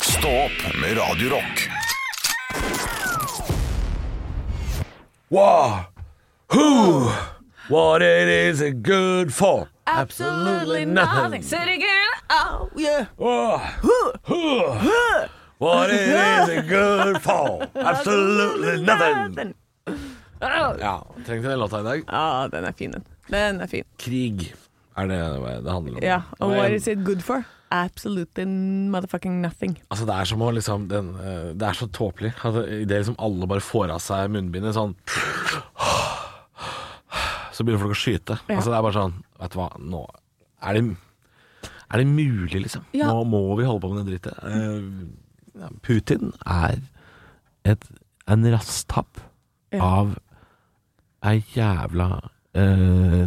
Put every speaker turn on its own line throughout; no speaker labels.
Stå opp med Radio Rock.
Wow. Who? What it is it good for? Absolutely nothing.
Say it again. Oh, yeah.
Wow. Who? What it is it good for? Absolutely nothing.
Oh.
Ja, trengte den låta i dag.
Ja, Ah, den er fin, den. Den er fin.
Krig er det det handler om.
Ja. Og
Det er-
what is it good for? Absolutely motherfucking nothing.
Altså Det er som å liksom den, eh, Det er så tåpelig. Altså, Idet liksom alle bare får av seg munnbindet sånn Så begynner folk å skyte.
Ja.
Altså Det er bare sånn Vet du hva, nå Er det, er det mulig, liksom?
Ja.
Nå må vi holde på med det drittet. Eh, ja, Putin er et, en rasthapp
Ja.
av ei jævla eh,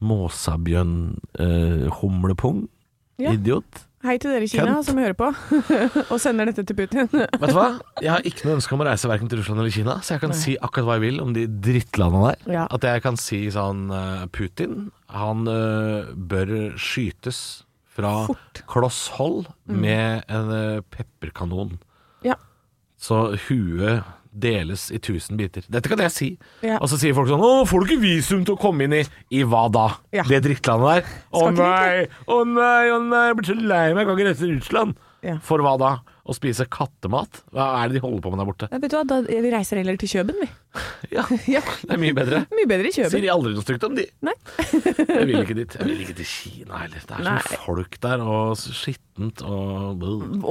måsabjørn-humlepung.
Ja.
Idiot.
Hei til dere i Kina
Kent.
som hører på og sender dette til Putin.
Vet du hva? Jeg har ikke noe ønske om å reise verken til Russland eller Kina, så jeg kan si akkurat hva jeg vil om de drittlandene der.
Ja.
At jeg kan si sånn eh, Putin, han eh, bør skytes fra
Fort. Mm.
kloss hold med en eh, pepperkanon.
Ja.
Så huet deles i tusen biter. Dette kan jeg si.
Ja.
Og så sier folk sånn Å, får du ikke visum til å komme inn i I hva da?
Ja.
Det drittlandet der? Å
Skal ikke
nei, å nei, å nei, jeg blir så lei meg, jeg kan ikke reise til Russland.
Ja.
For hva da? Å spise kattemat? Hva er det de holder på med der borte?
Ja, vet du hva, da, vi reiser heller til Kjøben, vi.
Ja,
Ja.
Det er mye bedre.
Mye bedre i
Sier
Kjøben.
de aldri noe stygt om de.
Nei.
Jeg vil ikke dit. Jeg vil ikke til Kina heller. Det er
Nei.
sånn folk der, og skittent og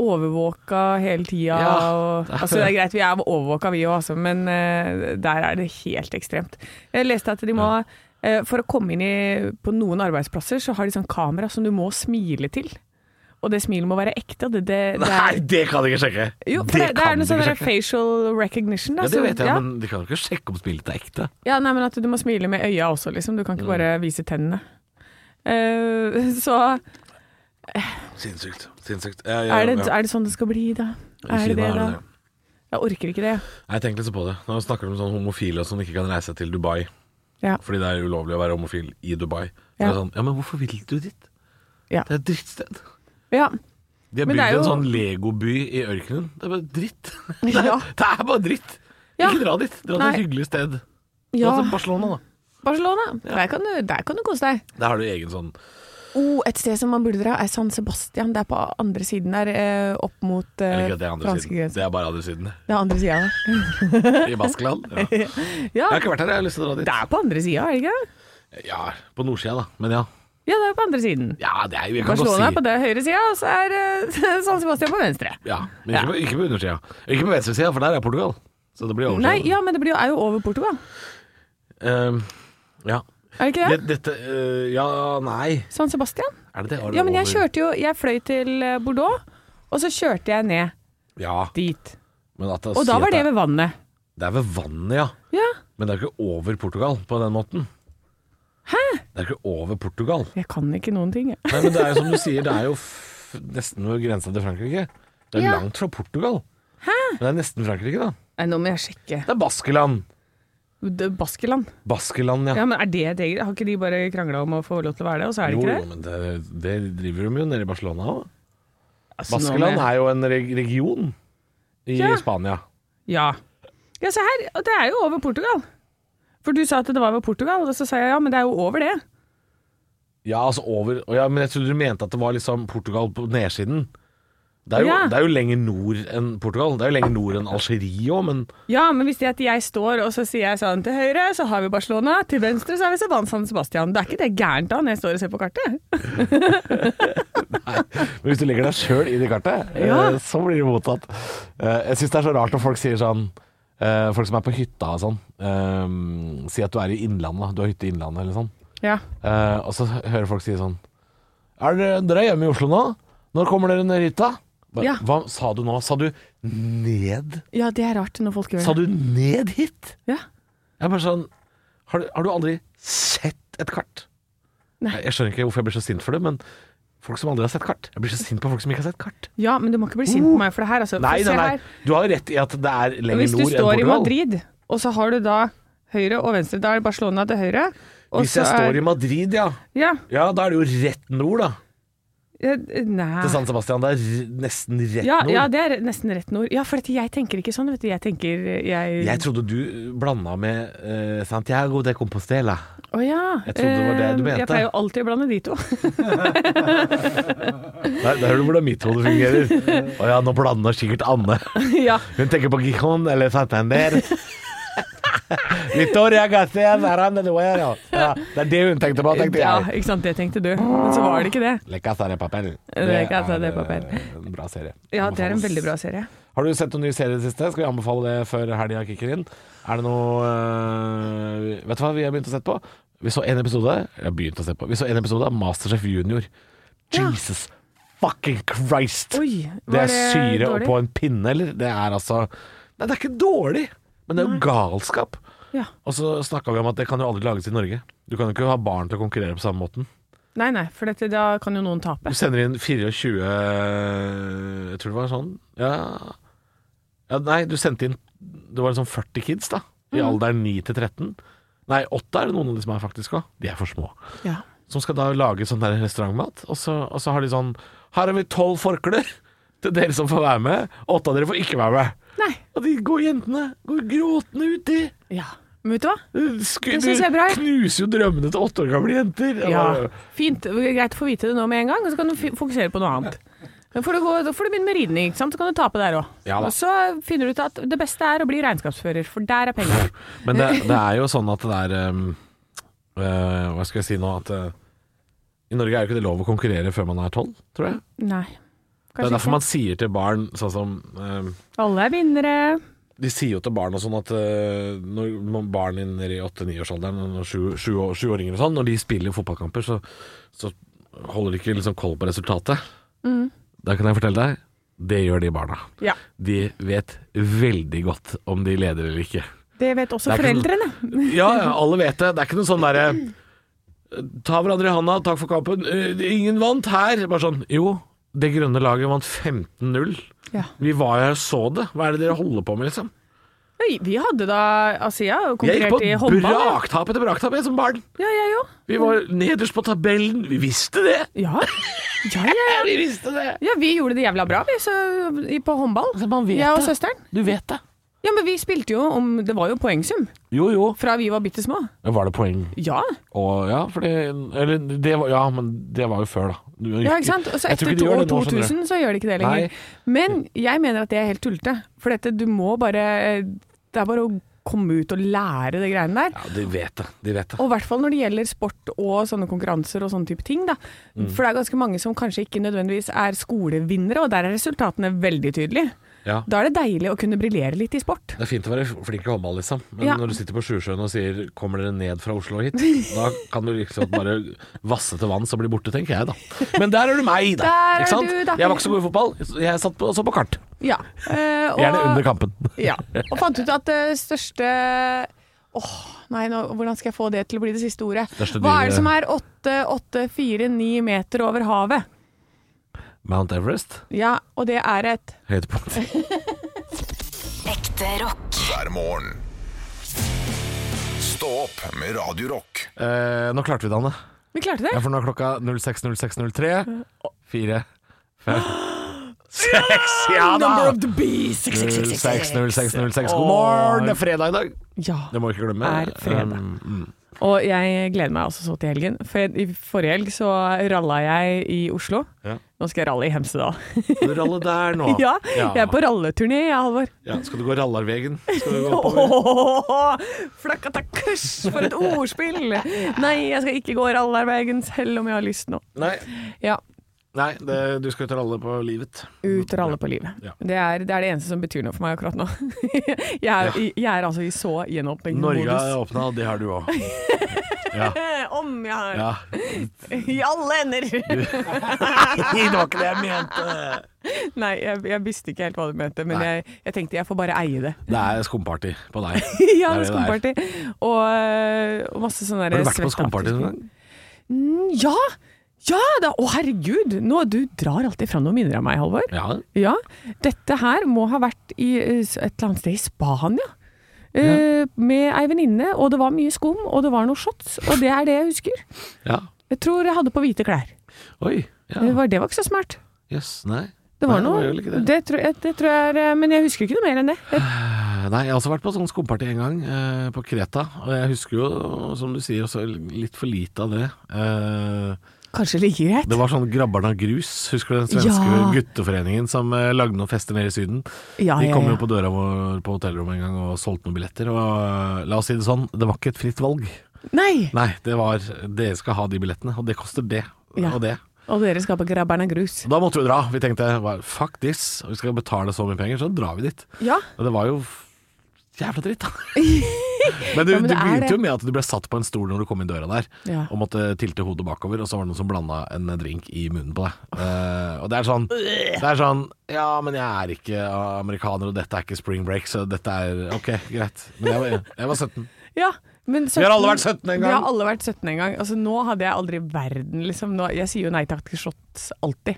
Overvåka hele tida.
Ja.
og- Altså, det er greit, vi er overvåka vi òg, altså, men eh, der er det helt ekstremt. Jeg leste at de må eh, For å komme inn i, på noen arbeidsplasser, så har de sånn kamera som du må smile til. Og det smilet må være ekte. og Det, det, det er,
Nei, det kan de ikke sjekke!
jo, for det, det er
kan
noe
de
sånn
ikke
der
sjekke.
facial recognition. Da,
Ja, det
så-
vet jeg,
ja.
men de kan jo ikke sjekke om spillet er ekte.
Ja, nei, men at du må smile med øya også, liksom. Du kan
Mm.
ikke bare vise tennene. Eh, så
Sinnssykt. Sinnssykt. Ja, ja,
er det,
ja.
er det sånn det skal bli, da?
I
Er
Kina
det det,
er
da?
det det.
Jeg orker ikke det.
Nei, tenk litt så på det. Nå snakker du om sånne homofile som ikke kan reise til Dubai.
Ja.
Fordi det er ulovlig å være homofil i Dubai. Ja.
Ja.
Er sånn, ja, Men hvorfor vil du dit?
Ja.
Det er et drittsted.
Ja.
De har
Men det
bygd
er
en
jo-
sånn legoby i ørkenen. Det er bare dritt. Det er,
Ja.
det er bare dritt.
Ja.
Ikke dra dit. Dra
Nei.
til et hyggelig sted. Dra
ja.
til Barcelona, da.
Barcelona. Der, kan du, der kan du kose deg.
Der har du egen sånn
Oh, et sted som man burde dra, er San Sebastian. Det er på andre siden der, eh, opp mot
Eller
eh,
ikke, det er andre siden.
franskegrensen.
Det er bare andre siden.
Det er andre sida.
I Baskeland. Ja. Jeg
Ja,
har ikke vært her, jeg har lyst til å dra
det
dit.
er på andre sida, er det ikke? det?
Ja, På nordsida, da. Men ja.
Ja, det er på andre siden.
Ja, det er jo Jeg kan godt
Barcelona er
si
på det høyre sida, og så er eh, San Sebastian på venstre.
Ja, men ikke,
Ja.
På, ikke på undersida. Ikke på venstresida, for der er Portugal. Så det blir oversida.
Nei, ja, men det blir jo, er jo over Portugal.
Ehm, ja.
Er det ikke det?
Det, dette øh, Ja, nei.
San Sebastian?
Er det det? Har
Ja, men jeg
over-
kjørte jo Jeg fløy til eh, Bordeaux, og så kjørte jeg ned
Ja,
dit.
men at jeg
Og da
sier at
var det
det,
ved vannet.
er- det er ved vannet, ja.
Ja.
Men det er ikke over Portugal på den måten. Hæ? Det er ikke over Portugal.
Jeg kan ikke noen ting, jeg.
Nei, men det er jo som du sier, det er jo f nesten ved grensa til Frankrike. Det er
Ja.
langt fra Portugal. Hæ? Men det er nesten Frankrike, da.
Nei, nå må jeg sjekke.
Det er Baskeland.
Det- Baskeland.
Baskeland, ja.
Ja, men er det et eget? Har ikke de bare krangla om å få lov til å være det, og så er det
jo, jo,
ikke det?
men det, det driver de jo nede i Barcelona òg.
Altså, nå må
Baskeland
jeg-
Sånn er jo en reg region i
Ja.
Spania.
Ja. Ja, se her. Og det er jo over Portugal. For du sa at det var ved Portugal, og så sa jeg ja, men det er jo over det.
Ja, altså over å ja, Men jeg trodde du mente at det var liksom Portugal på nedsiden. Det er, jo,
Ja.
det er jo lenger nord enn Portugal. Det er jo lenger nord enn Algerie òg, men
Ja, men hvis det er at jeg står og så sier jeg sånn til høyre, så har vi Barcelona, til venstre så har vi Seban- San Sebastian. Det er ikke det gærent da når jeg står og ser på kartet.
Men hvis du legger deg sjøl i det kartet, eh,
Ja.
så blir du mottatt. Eh, Jeg syns det er så rart når folk sier sånn eh, Folk som er på hytta og sånn, eh, si at du er i Innlandet, du har hytte i Innlandet eller sånn.
Ja.
Eh, og så hører folk si sånn Er dere, dere er hjemme i Oslo nå? Når kommer dere ned hit, da? Bare,
Ja.
Hva sa du nå? Sa du ned?
ja, det er rart når folk gjør det.
Sa du ned hit?
Ja.
Jeg er bare sånn har du, har du aldri sett et kart?
Nei.
Jeg, jeg skjønner ikke hvorfor jeg blir så sint for det, men folk som aldri har sett kart. Jeg blir så sint på folk som ikke har sett kart.
ja, men du må ikke bli sint på meg for det her. Altså,
Uh. Nei,
Se
nei, nei.
her.
Du har jo rett i at det er lenger
Hvis du
nord enn
står i
Portugal.
Madrid, og så har du da høyre og venstre, da er det Barcelona til høyre. Og
Hvis jeg står i Madrid, ja.
Ja,
Ja, da er det jo rett nord, da.
Eh, Nei
Til San Sebastian. Det er r- nesten rett
ja,
nord.
ja, det er nesten rett nord. Ja, for dette, jeg tenker ikke sånn, vet du. Jeg tenker jeg
Jeg trodde du blanda med eh, Santiago de Compostela.
Å ja.
Jeg trodde det var det du
Eh,
mente.
Jeg pleier jo alltid å blande de to.
Der, der hører du hvordan mitt hode fungerer. Å ja, nå blander sikkert Anne.
ja.
Hun tenker på Gijon eller Santander. Victoria Garcia Ferran de Duero. Ja, det er det hun tenkte på, tenkte
ja,
jeg.
ikke sant. Det tenkte du. Men så var det ikke det.
Le Casa de Papel.
Le Casa de Papel.
eh, en bra serie.
Ja, det er en
Anbefales.
veldig bra serie.
Har du sett noen nye serier i det siste? Skal vi anbefale det før helga kicker inn? Er det noe eh, Vet du hva vi har begynt å sette på? Vi så en episode Jeg har begynt å se på Vi så en episode av Masterchef Junior.
Ja.
Jesus fucking Christ!
Oi,
det
var
er syre
dårlig?
på en pinne, eller? Det er altså Nei, det er ikke dårlig, men det er jo galskap.
Ja.
Og så snakka vi om at det kan jo aldri lages i Norge. Du kan jo ikke ha barn til å konkurrere på samme måten.
Nei, nei, for dette, da kan jo noen tape.
Du sender inn 24 Jeg tror det var sånn Ja, ja Nei, du sendte inn Det var sånn 40 kids da I
Mhm.
alderen 9 til 13 Nei, 8 er det noen av de som er faktisk også De er for små
Ja.
Som skal da lage sånn der restaurantmat og så, og så har de sånn Her har vi 12 forklær Til dere som får være med 8 av dere får ikke være med
Nei.
Og de går jentene Går gråtende ut i
Ja. Men vet du hva?
Sku,
Det synes jeg er bra, jeg.
Knuser jo drømmene til 8 år gamle jenter
Ja. Fint. Greit å få vite det nå med en gang, og så kan du fi- fokusere på noe annet. Da får, du gå, da får du begynne med ridning, ikke sant? så kan du tape der òg.
Ja da.
og så finner du ut at det beste er å bli regnskapsfører, for der er penger.
Men det, det er jo sånn at det er um, øh, Hva skal jeg si nå at øh, I Norge er jo ikke det lov å konkurrere før man er tolv, tror jeg.
Nei.
det er
Kanskje
derfor
ikke.
man sier til barn sånn som um,
Alle er vinnere.
De sier jo til barn og sånn at øh, når man- barn inn i åtte-niårsalderen, sjuåringer og sånn, når de spiller fotballkamper, så, så holder de ikke liksom koll på resultatet.
Mm.
Da kan jeg fortelle deg det gjør de barna.
Ja.
De vet veldig godt om de leder eller ikke.
Det vet også
Det er ikke sånn-
foreldrene.
Ja, ja, alle vet det. Det er ikke noe sånn derre Ta hverandre i handa, takk for kampen. Eh, Ingen vant her. Bare sånn Jo, det grønne laget vant 15-0.
Ja.
Vi var jo her og så det. Hva er det dere holder på med, liksom?
Oi, Vi hadde da Asiya
Jeg gikk
konkurrerte i
på
håndball. ja.
braktap etter braktap jeg, som barn.
Ja, jeg òg.
Vi var nederst på tabellen. Vi visste det!
Ja. Ja, ja, ja.
Vi visste det!
ja, vi gjorde det jævla bra, vi, så, i- på håndball.
Altså, man vet
Jeg og
det.
søsteren.
Du vet det.
Ja, men vi spilte jo om Det var jo poengsum
Jo, jo.
fra vi var bitte små.
Var det poeng?
Ja.
Og, ja, for det, eller, det var, ja, men det var jo før, da. Du-
ja, ikke sant. Og så
Jeg tror
etter
ikke de gjør
år
det nå, skjønner du.
2000 så gjør det ikke det lenger.
Nei.
Men jeg mener at det er helt tullete. For dette, du må bare eh, Det er bare å komme ut og lære det greiene der.
Ja, de vet det. De vet det.
Og i hvert fall når det gjelder sport og sånne konkurranser og sånne type ting, da. For det er ganske mange som kanskje ikke nødvendigvis er skolevinnere, og der er resultatene veldig tydelige.
Ja.
Da er det deilig å kunne briljere litt i sport.
Det er fint å være flink i håndball, liksom. Men
Ja.
når du sitter på Sjusjøen og sier 'kommer dere ned fra Oslo og hit', da kan du liksom bare vasse til vanns og bli borte, tenker jeg da. Men der er du meg, da.
Der er
ikke sant?
du, da.
Jeg var ikke så god i fotball. Jeg satt på, og så på kart.
Ja. eh, og,
Gjerne under kampen.
Ja. Og fant ut at det største Åh, nei, nå, hvordan skal jeg få det til å bli det siste ordet?
Største
Hva
dyret-
er det som er 8-8-4-9 meter over havet?
Mount Everest,
Ja, og det er et
høydepunkt.
Ekte rock.
hver morgen. Stå opp med Radio Rock.
Eh, nå klarte vi det, Anne.
Vi klarte det!
Ja, for nå er klokka 06.06.03. Fire, fem, seks. Ja
Number
da!
of the beast!
06.06.06. God morgen, det er fredag i dag.
Ja.
Det må vi ikke glemme.
Er fredag.
Um, mm.
Og jeg gleder meg også så til helgen. For jeg, I forrige helg så ralla jeg i Oslo.
Ja.
Nå skal jeg ralle i Hemsedal.
Du raller der nå.
ja, jeg er på ralleturné, jeg, Halvor.
Ja, skal du gå Rallarvegen? Skal du gå oppover?
Ååå! Flakkatakkurs, for et ordspill! Nei, jeg skal ikke gå rallarvegen, selv om jeg har lyst nå.
Nei,
Ja,
nei det, du skal ut og ralle på livet.
ut og ralle på livet.
Ja.
Det, er, det er det eneste som betyr noe for meg akkurat nå. jeg, er, jeg er altså i så
Norge er
gjenåpningsmodus.
åpna, og det har du òg. Ja.
Om jeg har
ja.
I alle ender!
Det var ikke det jeg mente.
Nei, jeg, jeg visste ikke helt hva du mente, men
Nei.
jeg, jeg tenkte jeg får bare eie det.
Det er skumparty på deg. Det er
ja, det er
det
skumparty. Og, øh, og masse sånn der
Har du vært på
svette
skumparty
afterski.
noen gang?
Mm, Ja! Ja da! Å herregud! Nå, du drar alltid fram noen minner av meg, Halvor.
Ja.
Ja. Dette her må ha vært i øh, s- et eller annet sted i Spania. Eh, Med ei venninne, og det var mye skum, og det var noen shots. Og det er det jeg husker.
ja.
Jeg tror jeg hadde på hvite klær.
Oi.
Det
Ja.
var, det var ikke så smart.
Yes, nei.
Det var
Nei, det var
noe
vel ikke det.
tror jeg, det tror jeg er, eh, Men jeg husker ikke noe mer enn det. Jeg,
Eh, Nei, jeg har også vært på sånn skumparty en gang, eh, på Kreta. Og jeg husker jo, som du sier, også litt for lite av det. Eh,
kanskje like greit.
det var sånn Grabbarna Grus, husker du den svenske
Ja.
gutteforeningen som eh, lagde noen fester nede i Syden?
Ja,
De
ja,
kom jo
ja.
på døra vår på hotellrommet en gang og solgte noen billetter. Og eh, la oss si det sånn, det var ikke et fritt valg.
Nei!
Nei, det var dere skal ha de billettene, og det koster det.
Ja.
Og det.
Og dere skal på Grabberna grus.
Da måtte vi dra. Vi tenkte "Hva- fuck this, vi skal betale så mye penger, så drar vi dit.
Ja.
Og det var jo f- jævla dritt, da. men du,
Ja, men
det
det er
begynte
det.
jo med at du ble satt på en stol når du kom inn døra der,
Ja.
og måtte tilte hodet bakover, og så var det noen som blanda en drink i munnen på deg. Eh, og det er sånn Det er sånn Ja, men jeg er ikke amerikaner, og dette er ikke spring break, så dette er OK, greit. Men jeg var, jeg var 17.
ja. Men 17,
Vi har alle vært 17 en gang.
Vi har alle vært 17 en gang. Altså, nå hadde jeg aldri i verden liksom. nå, Jeg sier jo nei takk til shots alltid.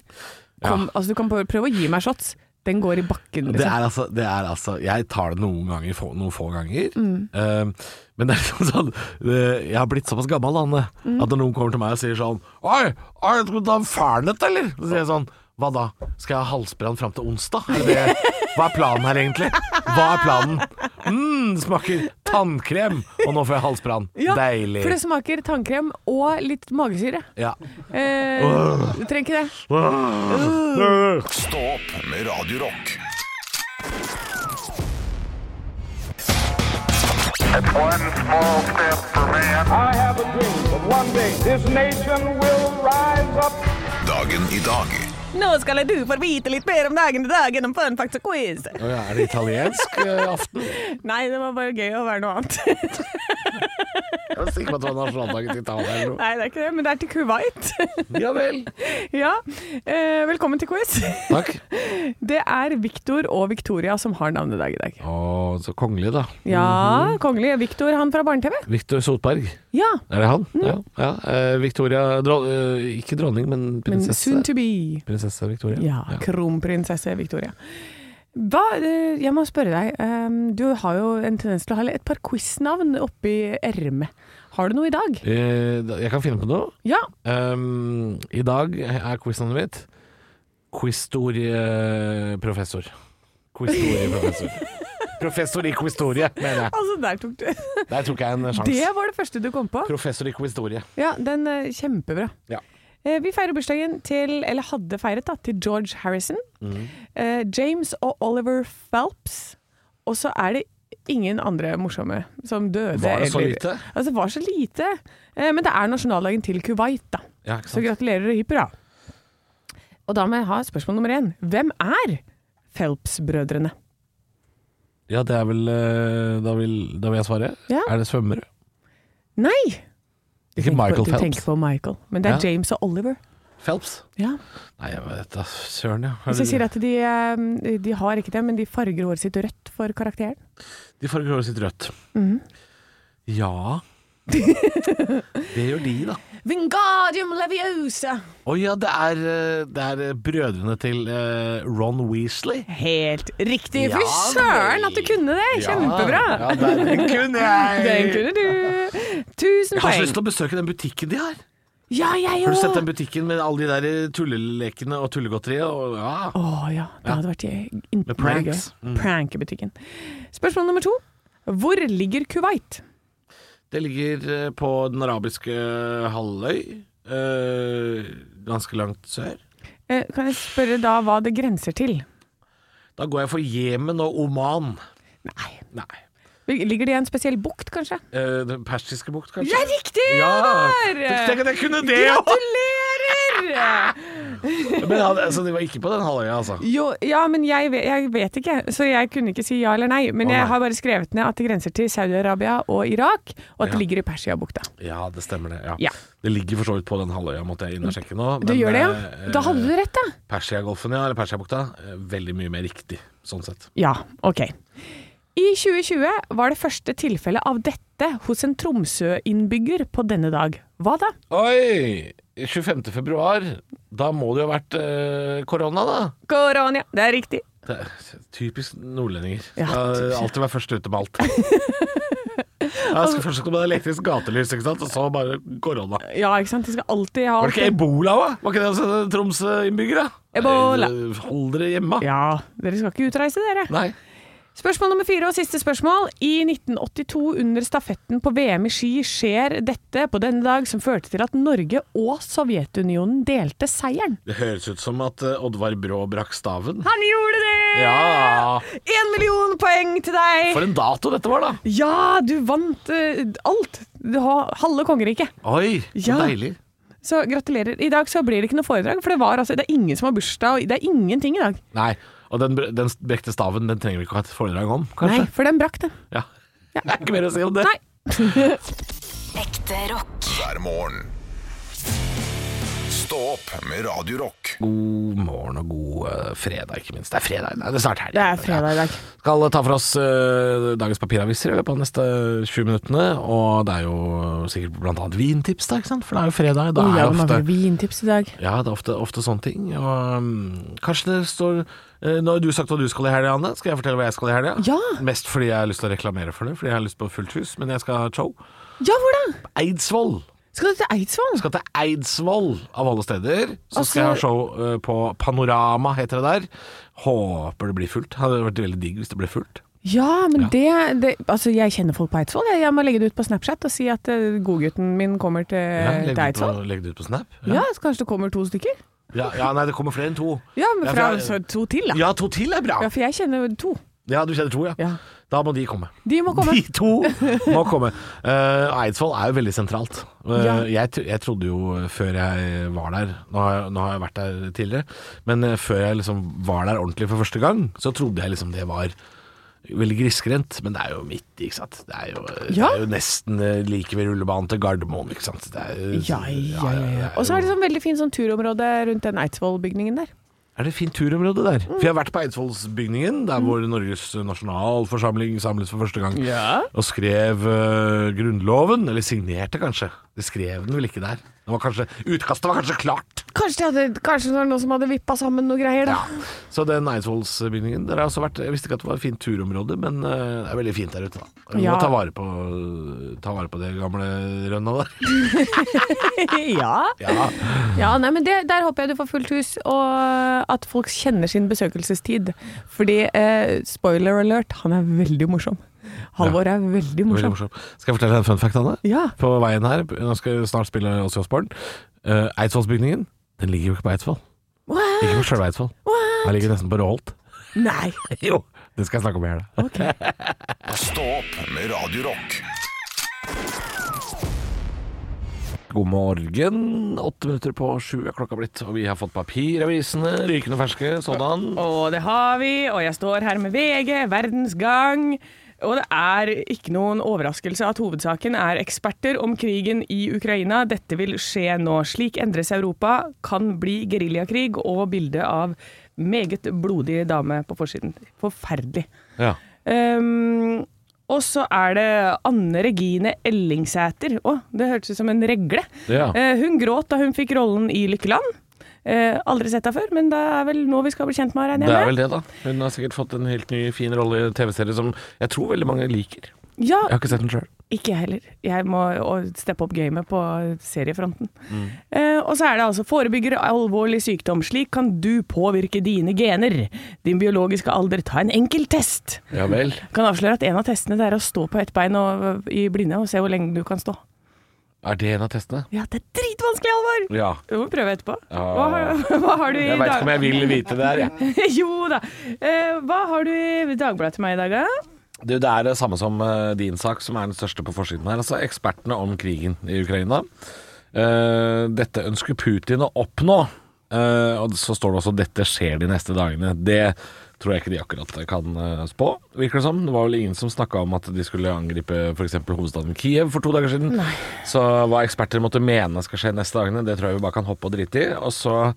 Kom, altså, du kan prøve prøve å gi meg shots. Den går i bakken,
Det
liksom.
er altså, det er altså Jeg tar det noen ganger, få, noen få ganger.
Mm.
Eh, men det er liksom sånn eh, Jeg har blitt såpass gammel, Anne,
Mm.
at når noen kommer til meg og sier sånn Oi, oi skal du ta en fernet, eller? Så sier jeg sånn Hva da? Skal jeg ha halsbrann fram til onsdag? Er det, hva er planen her, egentlig? Hva er planen? Mm, smaker tannkrem! Og nå får jeg halsbrann.
Ja,
Deilig.
For det smaker tannkrem og litt magesyre.
Ja.
Eh, Du trenger ikke det.
Stå opp med Radio Rock.
It's one small step for man.
I have a dream that one day this nation will rise up.
Dagen i dag
Nå skal du få vite litt mer om dagen i dag gjennom fun facts og quiz.
Å ja, Er det italiensk eh, aften?
Nei, det var bare gøy å være noe annet.
Jeg var sikker på at det var nasjonaldagen til Italia eller noe.
Nei, det er ikke det, men det er til Kuwait.
Ja vel.
ja. Eh, velkommen til quiz.
Takk.
Det er Viktor og Victoria som har navnedag i dag.
Å, så kongelig, da.
Ja, kongelig. Viktor, han fra Barne-TV.
Victor Sotberg.
Mhm. Ja.
Er det han?
Mm.
Ja. ja. Eh, Victoria dron eh, Ikke dronning, men
Men
prinsesse.
soon to be.
prinsesse Victoria.
Ja, kronprinsesse Victoria. Hva, eh, jeg må spørre deg, eh, du har jo en tendens til å ha et par quiznavn oppi ermet. Har du noe i dag?
Eh, da- jeg kan finne på noe.
Ja.
Um, I dag er quiznavnet mitt Quistorieprofessor. Quistorieprofessor. Professor i quistorie, mener jeg.
Altså, der tok du
Der tok jeg en
Det
sjanse.
var det første du kom på.
Professor i quistorie.
Ja, den er kjempebra.
Ja.
Eh, Vi feirer bursdagen til, eller hadde feiret da, til George Harrison,
Mhm.
eh, James og Oliver Phelps, og så er det ingen andre morsomme som døde.
Var det så
eller-
lite?
Altså, det var så lite. Eh, Men det er nasjonaldagen til Kuwait, da.
Ja, ikke
Så
sant?
gratulerer og hyper, da. Og da må jeg ha spørsmål nummer én. Hvem er Phelps-brødrene?
Ja, det er vel eh, Da vil, da vil jeg svare.
Ja.
Er det svømmere?
Nei!
Ikke
Tenk på-
Michael
Du tenker
Phelps.
på Michael, men det er
Ja.
James og Oliver.
Phelps?
Ja.
Nei, jeg vet da søren, ja.
Hvis jeg sier at de, eh, de har ikke det, men de farger håret sitt rødt for karakteren.
De farger håret sitt rødt.
Mhm.
Ja Det gjør de, da.
Vingardium leviosa!
Å ja, det er, eh, det er eh, brødrene til eh, Ron Weasley.
Helt riktig!
Ja,
Fy søren
vel.
at du kunne det! Kjempebra!
Ja, ja, der- den kunne jeg!
Den kunne du! Tusen
Jeg har så
poeng.
lyst til å besøke den butikken de har.
Ja, jeg
Har du sett den
òg!
butikken med alle de der eh, tullelekene og tullegodteriet? Og, ja.
Å ja, det hadde vært
Med
innmari gøy.
pranks. Mm.
Prank i butikken. Spørsmål nummer to. Hvor ligger Kuwait?
Det ligger eh, på den arabiske halvøy. eh, ganske langt sør.
Eh, Kan jeg spørre da hva det grenser til?
Da går jeg for Jemen og Oman.
Nei.
Nei.
Ligger det i en spesiell bukt, kanskje?
Eh, den persiske bukt, kanskje?
Det er riktig!
Ja!
Ivar!
Tenk at jeg kunne det òg!
Gratulerer!
Men han- altså, de var ikke på den halvøya, altså.
Jo, ja, men jeg vet, jeg vet ikke, så jeg kunne ikke si ja eller nei. Men
Å, nei.
jeg har bare skrevet ned at det grenser til Saudi-Arabia og Irak, og
Ja.
at det ligger i Persiabukta.
Ja, det stemmer det. Ja.
Ja.
Det ligger for så vidt på den halvøya, måtte jeg inn og sjekke nå.
Du gjør det, ja?
eh,
Da hadde du rett, da.
Persiagolfen, ja, eller Persiabukta. eh, Veldig mye mer riktig, sånn sett.
Ja, ok. I 2020 var det første tilfellet av dette hos en Tromsø-innbygger på denne dag. Hva da?
Oi! 25. februar. Da må det jo ha vært eh, korona, da.
Korona. Det er riktig.
Det er typisk nordlendinger.
Ja,
Skal
typisk.
alltid være først ute med alt. Jeg skal først komme med elektrisk gatelys, ikke sant? og så bare korona.
Ja, ikke sant? De skal alltid ha
Var det ikke ebola òg? Var ikke det altså, Troms-innbyggere?
Ebola.
Eh, Hold dere hjemme.
Ja, dere skal ikke utreise, dere.
Nei.
Spørsmål nummer fire og siste spørsmål. I 1982 under stafetten på VM i ski skjer dette på denne dag som førte til at Norge og Sovjetunionen delte seieren.
Det høres ut som at eh, Oddvar Brå brakk staven.
Han gjorde det!
Ja
Én million poeng til deg!
For en dato dette var, da.
Ja, du vant eh, alt! Du har halve kongeriket.
Oi,
Ja. deilig. Så gratulerer. I dag så blir det ikke noe foredrag, for det, var, altså, det er ingen som har bursdag, og det er ingenting i dag.
Nei, og den, br- den brekte staven den trenger vi ikke ha et foredrag om,
Nei,
kanskje?
for den brakk det.
Ja. Det er ikke mer å si om det.
Nei.
Ekte rock.
hver morgen. Stå opp med Radio Rock.
God morgen og god eh, fredag, ikke minst. Det er fredag, nei, det er snart helg.
Det er fredag i dag.
Skal ta for oss eh, dagens papiraviser i løpet av de neste 20 minuttene. Og det er jo sikkert blant annet vintips, da, ikke sant? for det er jo fredag. Da
Olav
er det ofte
mangler vintips i dag.
ja, det er ofte, ofte sånne ting. Og mm, kanskje det står eh, Nå har du sagt hva du skal i helga, Anne. Skal jeg fortelle hva jeg skal i helga?
Ja.
Mest fordi jeg har lyst til å reklamere for det, fordi jeg har lyst på fullt hus. Men jeg skal ha et show.
Ja, hvor da?
Eidsvoll!
Skal du til Eidsvoll?
skal til Eidsvoll, av alle steder. Så
Altså-
skal jeg ha show eh, på Panorama, heter det der. Håper det blir fullt. Hadde vært veldig digg hvis det ble fullt.
Ja, men Det, det Altså, jeg kjenner folk på Eidsvoll. Jeg, jeg må legge det ut på Snapchat og si at eh, godgutten min kommer til,
legg
til
Eh, det ut
Eidsvoll.
på- legg det ut på Snap.
Ja. så kanskje det kommer to stykker?
Ja, ja, nei, det kommer flere enn to.
Ja, men
Ja,
fra
for
så
jeg-
to til, da.
Ja, to til er bra!
Ja, for jeg kjenner to.
Ja, du kjenner to, ja.
Ja.
Da må de komme.
De må komme.
De to må komme. Eh, Eidsvoll er jo veldig sentralt. Eh,
Ja.
jeg, tro- jeg trodde jo før jeg var der nå har jeg, nå har jeg vært der tidligere, men eh, før jeg liksom var der ordentlig for første gang, så trodde jeg liksom det var veldig grisgrendt. Men det er jo midt i, ikke sant. Det er jo,
Ja.
det er jo nesten eh, like ved rullebanen til Gardermoen, ikke sant. Det er, jo-
Ja, ja, ja. ja.
det
Og så
er,
er det sånn veldig fint sånn turområde rundt den Eidsvoll-bygningen der.
jo- er det fint turområde der? For jeg har vært på Eidsvollsbygningen, der hvor Norges nasjonalforsamling samles for første gang. Og skrev eh, Grunnloven, eller signerte kanskje. De skrev den vel ikke der. Den var kanskje, utkastet var kanskje klart.
Kanskje det, hadde, kanskje det var noen som hadde vippa sammen noe greier, da.
Så den Eidsvollsbygningen der har også vært Jeg visste ikke at det var et fint turområde, men eh, det er veldig fint der ute, da. Vi
Ja.
må ta vare, på, ta vare på det gamle rønna der.
ja.
Ja.
ja nei, men det, der håper jeg du får fullt hus, og at folk kjenner sin besøkelsestid. Fordi, eh, spoiler alert, han er veldig morsom. Halvor er veldig
Veldig
morsom.
morsomt. Skal jeg fortelle deg en fun fact, Anne?
Ja.
På veien her, nå skal jeg snart spille Åssi Osborn. Eh, Eidsvollsbygningen, den ligger jo ikke på Eidsvoll.
What?
Ikke på sjølve Eidsvoll.
What?
Den ligger nesten på Råholt.
Nei.
Jo, det skal jeg snakke om i helga.
Stå opp med Radio Rock
God morgen. Åtte minutter på sju er klokka blitt, og vi har fått papiravisene rykende ferske sådan.
Og det har vi, og jeg står her med VG, Verdens Gang. Og det er ikke noen overraskelse at hovedsaken er eksperter om krigen i Ukraina. Dette vil skje nå. Slik endres Europa. Kan bli geriljakrig. Og bilde av meget blodig dame på forsiden. Forferdelig.
Ja.
Ehm, og så er det Anne Regine Ellingsæter. Å, det hørtes ut som en regle.
Ja.
Eh, hun gråt da hun fikk rollen i Lykkeland. Eh, aldri sett henne før, men det er vel nå vi skal bli kjent med henne,
Det er
regner jeg
vel det, da. Hun har sikkert fått en helt ny, fin rolle i en TV-serie som jeg tror veldig mange liker. Jeg
med. Ja,
har ikke sett den sjøl.
ikke jeg heller. Jeg må å- steppe opp gamet på seriefronten. Eh, og så er det altså forebygger alvorlig sykdom. Slik kan du påvirke dine gener. Din biologiske alder. Ta en enkel test.
Ja vel.
Kan avsløre at en av testene det er å stå på ett bein og, i blinde og se hvor lenge du kan stå.
Er det en av testene?
Ja, det er dritvanskelig, Alvor!
Ja.
Du må prøve etterpå.
Ja.
Hva har, hva har du i
Jeg veit ikke om jeg vil vite det her, jeg.
jo da. Eh, hva har du i Dagbladet til meg i dag, da?
Du, det er det samme som eh, din sak, som er den største på forsiden her. Altså ekspertene om krigen i Ukraina. Eh, dette ønsker Putin å oppnå. Eh, og så står det også 'dette skjer de neste dagene'. Det tror jeg ikke de akkurat kan eh, spå, virker det som. Det var vel ingen som snakka om at de skulle angripe f.eks. hovedstaden Kiev for to dager siden. Så hva eksperter måtte mene skal skje neste dagene, det tror jeg vi bare kan hoppe og drite i. Og så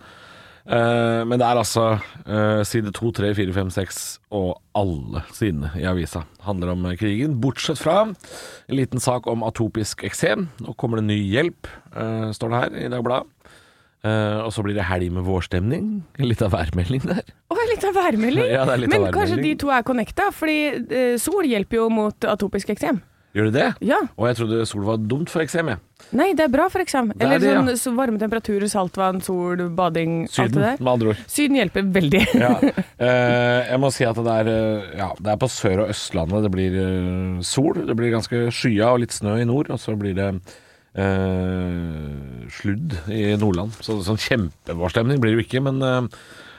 Eh, men det er altså eh, side 2, 3, 4, 5, 6 og alle sidene i avisa handler om eh, krigen. Bortsett fra en liten sak om atopisk eksem. Nå kommer det ny hjelp, eh, står det her i Dagbladet. Eh, og så blir det helg med vårstemning. Litt av værmelding der.
Å, litt av værmelding.
Ja, det er litt av
Men kanskje
værmelding.
de to er connecta, fordi eh, sol hjelper jo mot atopisk eksem.
Gjør de det?
Ja.
Og jeg trodde sol var dumt for eksem, jeg.
Nei, det er bra for eksam.
er
Eller
det, ja.
sånn så varme temperaturer, saltvann, sol, bading, alt
Syden,
det der.
med andre ord.
Syden hjelper veldig.
Ja. Eh, jeg må si at det er, eh, ja, det er på Sør- og Østlandet det blir eh, sol. Det blir ganske skya og litt snø i nord, og så blir det eh, sludd i Nordland. Så sånn kjempevårstemning blir det jo ikke, men eh,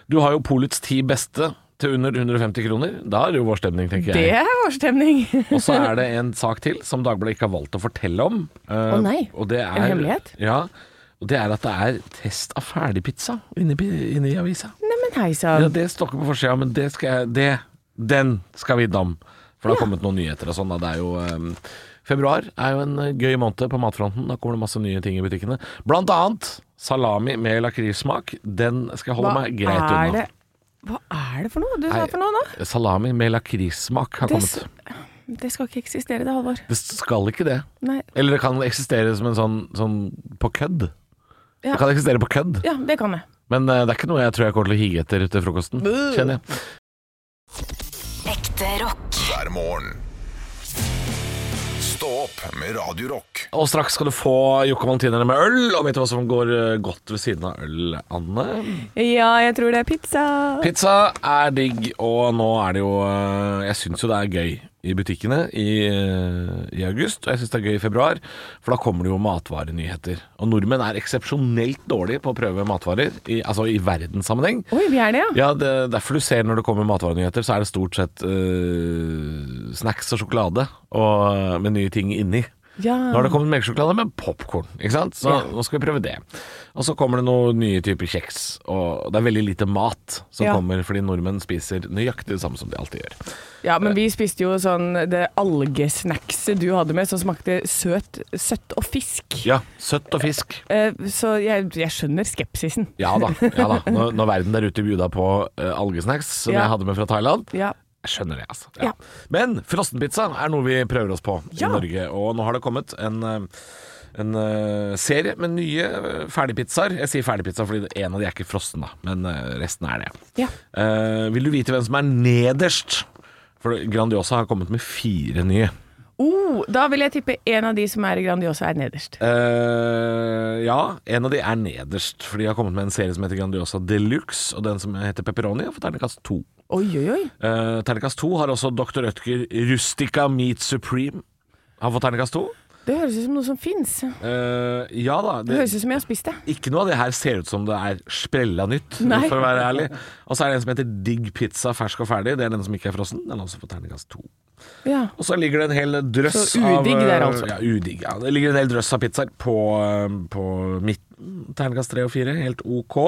du har jo Polets ti beste til under 150 kroner. Da er det jo vårstemning, tenker
Det
jeg.
er vårstemning.
Og så er det en sak til som Dagbladet ikke har valgt å fortelle om. Eh,
nei.
og det er,
En hemmelighet?
Ja. Og det er at det er test av ferdigpizza inni, inni avisa.
Neimen hei
Ja,
sann.
det står ikke på forsida, men det skal jeg det, Den skal vi innom. For det har kommet noen nyheter og sånn. da. Det er jo ehm, Februar er jo en eh, gøy måned på matfronten. Da kommer det masse nye ting i butikkene. Blant annet salami med lakrissmak. Den skal jeg holde meg greit
er
unna.
det? Hva er det for noe du sa
Nei,
for noe nå?
Salami med lakrissmak har
Det s-
kommet.
Det skal ikke eksistere, det, Halvor.
Det skal ikke det.
Nei.
Eller det kan eksistere som en sånn, sånn på kødd.
Ja.
Det kan eksistere på kødd,
Ja, det kan jeg.
men eh, det er ikke noe jeg tror jeg kommer til å hige etter til frokosten. Kjenner jeg.
Ekte rock.
hver morgen. Stå opp med Radio Rock.
Og straks skal du få Jokke Valentinerne med øl, og vet du hva som går eh, godt ved siden av øl, Anne?
Ja, jeg tror det er pizza.
Pizza er digg, og nå er det jo eh, Jeg syns jo det er gøy i butikkene i, eh, i august, og jeg syns det er gøy i februar, for da kommer det jo matvarenyheter. Og nordmenn er eksepsjonelt dårlige på å prøve matvarer, i, altså i verdenssammenheng.
Oi, vi er det, ja.
Ja, det, derfor du ser når det kommer matvarenyheter, så er det stort sett eh, snacks og sjokolade og, eh, med nye ting inni.
Ja.
Nå har det kommet melkesjokolade med popkorn, ikke sant? Så nå skal vi prøve det. Og så kommer det noen nye typer kjeks, og det er veldig lite mat som
Ja.
kommer fordi nordmenn spiser nøyaktig det samme som de alltid gjør.
ja, men vi spiste jo sånn det algesnackset du hadde med, som smakte søt, søtt og fisk.
Ja, søtt og fisk.
Eh, Så jeg, jeg skjønner skepsisen.
Ja da. ja da. Når, når verden der ute bjuda på eh, algesnacks, som
Ja.
jeg hadde med fra Thailand,
Ja.
Jeg skjønner det, altså.
Ja.
Men frossenpizza er noe vi prøver oss på
Ja.
i Norge, og nå har det kommet en eh, en eh, serie med nye eh, ferdigpizzaer. Jeg sier ferdigpizza fordi en av de er ikke frossen, da, men eh, resten er det.
Ja.
Eh, vil du vite hvem som er nederst? For Grandiosa har kommet med fire nye.
Oh, da vil jeg tippe en av de som er i Grandiosa, er nederst.
Eh, ja, en av de er nederst, for de har kommet med en serie som heter Grandiosa Deluxe, og den som heter Pepperoni, har fått terningkast to.
Oi, oi, oi.
Uh, terningkast 2 har også Dr. Rødtger Rustica Meat Supreme. Har fått terningkast 2.
Det høres ut som noe som fins.
ja da.
Det
Det,
høres ut som jeg har spist det.
ikke noe av det her ser ut som det er sprella nytt,
Nei.
for å være ærlig. Og så er det en som heter Digg Pizza fersk og ferdig. Det er den som ikke er frossen. Den har også fått terningkast 2.
Ja.
Og så ligger det en hel drøss
Så udigg
av, eh,
der, altså.
Ja, udigg. Ja. Det ligger en hel drøss av pizzaer på, eh, på midten. Terningkast 3 og 4, helt ok.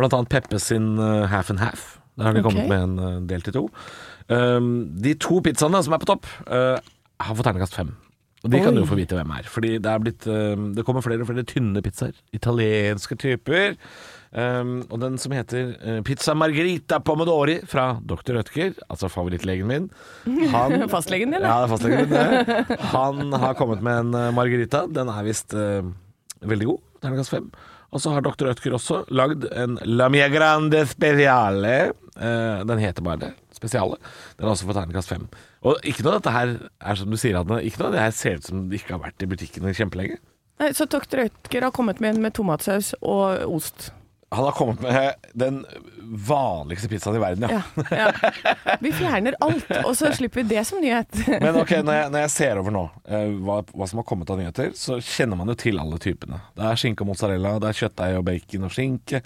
Blant annet Peppe sin eh, half and half. Der har de
Ok.
kommet med en eh, del til to. Um, de to pizzaene som er på topp, eh, har fått terningkast 5. Og de kan
Oi.
du jo få vite hvem er. Fordi det, er blitt, eh, det kommer flere og flere tynne pizzaer. Italienske typer. Um, og den som heter eh, Pizza Margherita Pomodori fra Dr. Rødtger, altså favorittlegen min han,
Fastlegen din, eller?
Ja, det er fastlegen min. det. Han har kommet med en eh, margarita. Den er visst eh, veldig god. Terningkast fem. Og så har Dr. Rødtger også lagd en Lamia Grande Speciale. Eh, den heter bare det. Spesiale. Den er også for terningkast fem. Og ikke noe av dette her er som du sier, Anne. Ikke noe av det her ser ut som det ikke har vært i butikkene kjempelenge.
Nei, så Dr. Rødtger har kommet med en med tomatsaus og ost.
Han har kommet med den vanligste pizzaen i verden,
Ja, ja. Vi fjerner alt, og så slipper vi det som nyhet.
Men ok, når jeg, når jeg ser over nå eh, hva, hva som har kommet av nyheter, så kjenner man jo til alle typene. Det er skinke og mozzarella, det er kjøttdeig og bacon og skinke.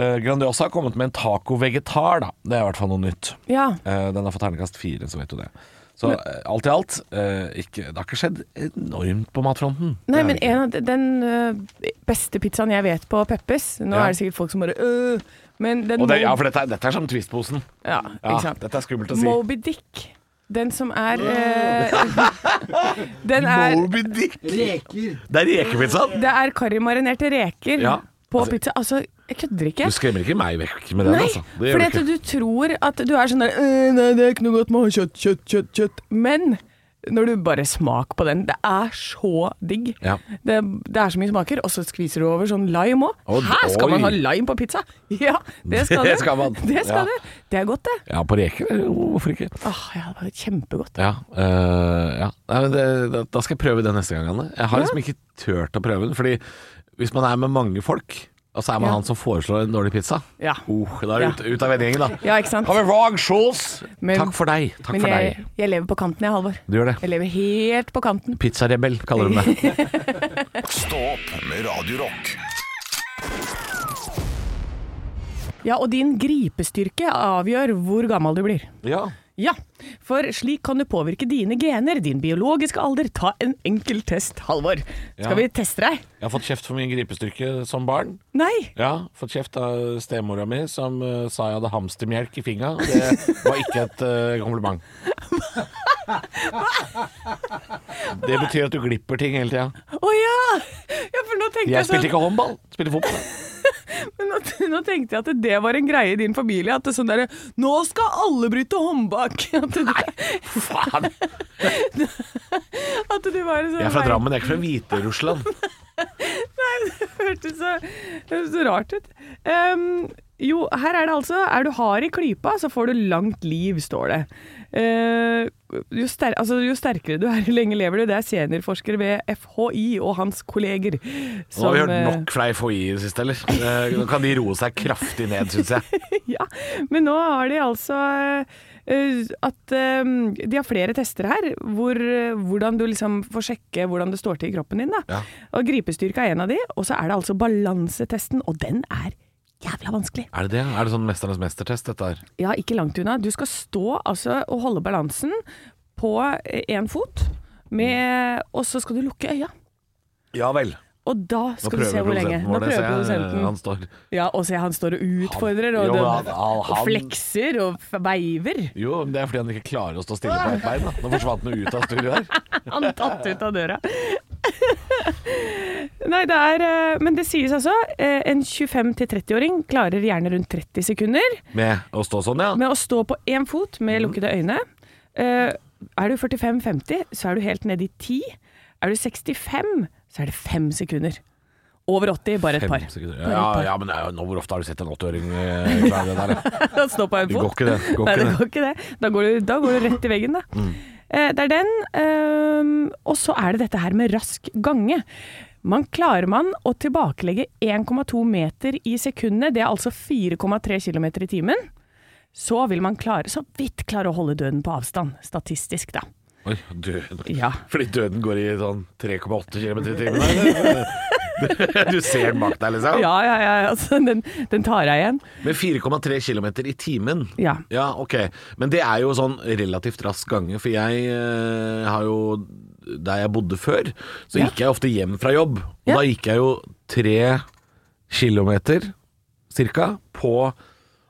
Eh, Grandiosa har kommet med en taco vegetar, da. Det er i hvert fall noe nytt.
Ja.
Eh, den har fått terningkast fire, så vet du det. Så eh, alt i alt, eh, ikke, det har ikke skjedd enormt på matfronten.
Nei,
Det er det
men
ikke.
en av de- den ø, beste pizzaen jeg vet på Peppes Nå
Ja.
er det sikkert folk som bare øh, Men den
og det,
Mo-
ja, for dette, er- dette er som Twist-posen.
ja,
Ja,
ikke sant?
dette er skummelt å si.
Moby Dick. Den som er ø, Den er
Moby Dick! Det er rekepizzaen!
Det er karrimarinerte reker
Ja.
på
Altså-
pizza. Altså, jeg kødder ikke.
Du skremmer ikke meg vekk med den,
Nei,
altså. Det
fordi
gjør du
at
ikke.
du tror at du er sånn der «Øh, Nei, det er ikke noe godt med å ha kjøtt, kjøtt, kjøtt, kjøtt. Men når du bare smak på den. Det er så digg.
Ja.
Det, det er så mye smaker, og så skviser du over sånn lime òg.
Å,
Her skal
oi.
man ha lime på pizza! Ja, det skal
Det
du.
skal man.
Det
Ja.
skal du. Det er godt, det.
Ja, på reker? eller? Hvorfor ikke?
Åh, ja, det var kjempegodt.
Ja, øh, ja. Nei, men det, da- Da skal jeg prøve det neste gang, Anne. Jeg har liksom ikke turt å prøve den. Fordi hvis man er med mange folk, og så er man
Ja.
han som foreslår en dårlig pizza
Ja.
oh, Da er det ut, ut av vennegjengen, da.
Ja, ikke sant?
Kom med Rog Schultz!
Men-
Takk for deg. Takk
Men
for
jeg,
deg.
jeg lever på kanten, jeg, Halvor.
Du gjør det.
Jeg lever helt på kanten.
Pizzarebell, kaller de meg.
Stå opp med Radio Rock.
Ja, og din gripestyrke avgjør hvor gammel du blir.
ja.
Ja, for slik kan du påvirke dine gener, din biologiske alder. Ta en enkel test, Halvor. Skal
Ja.
vi teste deg?
Jeg har fått kjeft for min gripestyrke som barn.
Nei.
Ja, Fått kjeft av stemora mi, som eh, sa jeg hadde hamstermelk i fingra. Det var ikke et eh, kompliment. Det betyr at du glipper ting hele tida.
Å ja! Ja, for nå tenkte jeg,
Jeg spilte
sånn,
ikke håndball, spilte fotball.
nå, nå tenkte jeg at det var en greie i din familie. At det sånn derre Nå skal alle bryte håndbak! At du,
Faen!
at du var en sånn
Jeg er fra Drammen, jeg er ikke fra Hviterussland.
hørtes så, det hørtes så rart ut. Ehm, jo, her er det altså Er du hard i klypa, så får du langt liv, står det. Eh, jo, ster altså, jo sterkere du er, jo lenger lever du. Det er seniorforsker ved FHI og hans kolleger.
Nå har vi hørt
eh,
nok fra FHI i det siste, eller? Eh, Nå kan de roe seg kraftig ned, syns jeg.
ja, men nå har de altså eh, eh, at eh, De har flere tester her, hvor, eh, hvordan du liksom får sjekke hvordan det står til i kroppen din. Da.
Ja.
Og Gripestyrke er en av de, og så er det altså balansetesten, og den er jævla vanskelig.
Er det det? Er det sånn Mesternes mestertest, dette her?
Ja, ikke langt unna. Du skal stå altså, og holde balansen på én fot, med, og så skal du lukke øya.
Ja vel.
Og da
Nå
skal du se
prøver
hvor lenge.
produsenten vår det, ser jeg. eh,
produsenten.
Han står
Ja, og se, han står og
Han-
utfordrer, og,
jo,
den-
han- han-
og flekser og f- veiver.
Jo, men det er fordi han ikke klarer å stå stille på ett bein. da. Nå forsvant han jo ut av studio her.
Han er tatt ut av døra. Nei, det er eh, Men det sies altså. eh, En 25-30-åring klarer gjerne rundt 30 sekunder
Med å stå sånn, ja.
med å stå på én fot
Mm.
med lukkede øyne. Eh, Er du 45-50, så er du helt nede i 10. Er du 65, så er det 5 sekunder. Over 80, bare et
Fem
par.
sekunder.
Bare et
Ja,
par.
ja, men det er jo- nå, hvor ofte har du sett en 80-åring eh, klare det der? da?
Å stå på én
Det går
fot.
ikke, det. Går
Nei, det
ikke det.
går ikke det. Da går du, da går du rett i veggen, da. Eh, det er den. ehm, og så er det dette her med rask gange. Man klarer man å tilbakelegge 1,2 meter i sekundet, det er altså 4,3 km i timen. Så vil man klare, så vidt klare å holde døden på avstand, statistisk da.
Oi, døden.
Ja.
Fordi døden går i sånn 3,8 km i timen? eller? Du ser den bak deg, liksom?
Ja, ja, ja, altså, den, den tar jeg igjen.
Med 4,3 km i timen?
Ja.
Ja, ok. Men det er jo sånn relativt rask gange, for jeg eh, har jo Der jeg bodde før, så
Ja.
gikk jeg ofte hjem fra jobb. Og
Ja.
da gikk jeg jo tre kilometer cirka på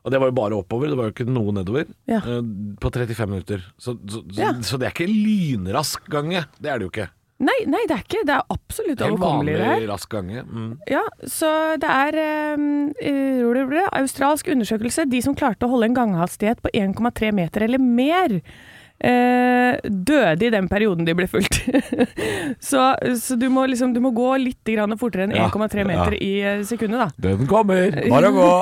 og det var jo bare oppover, det var jo ikke noe nedover.
Ja.
eh, På 35 minutter. Så, så, så,
Ja.
så det er ikke lynrask gange. Det er det jo ikke.
Nei, nei, det er ikke, det er absolutt
Det er en
overkommelig det her.
vanlig rask gange. Mm.
Ja, så det er ehm, eh, rolig, rolig. Australsk undersøkelse. De som klarte å holde en ganghastighet på 1,3 meter eller mer, eh, døde i den perioden de ble fulgt. så så du, må liksom, du må gå litt grann fortere enn
Ja,
1,3 meter
ja.
i eh, sekundet, da.
Døden kommer, bare gå.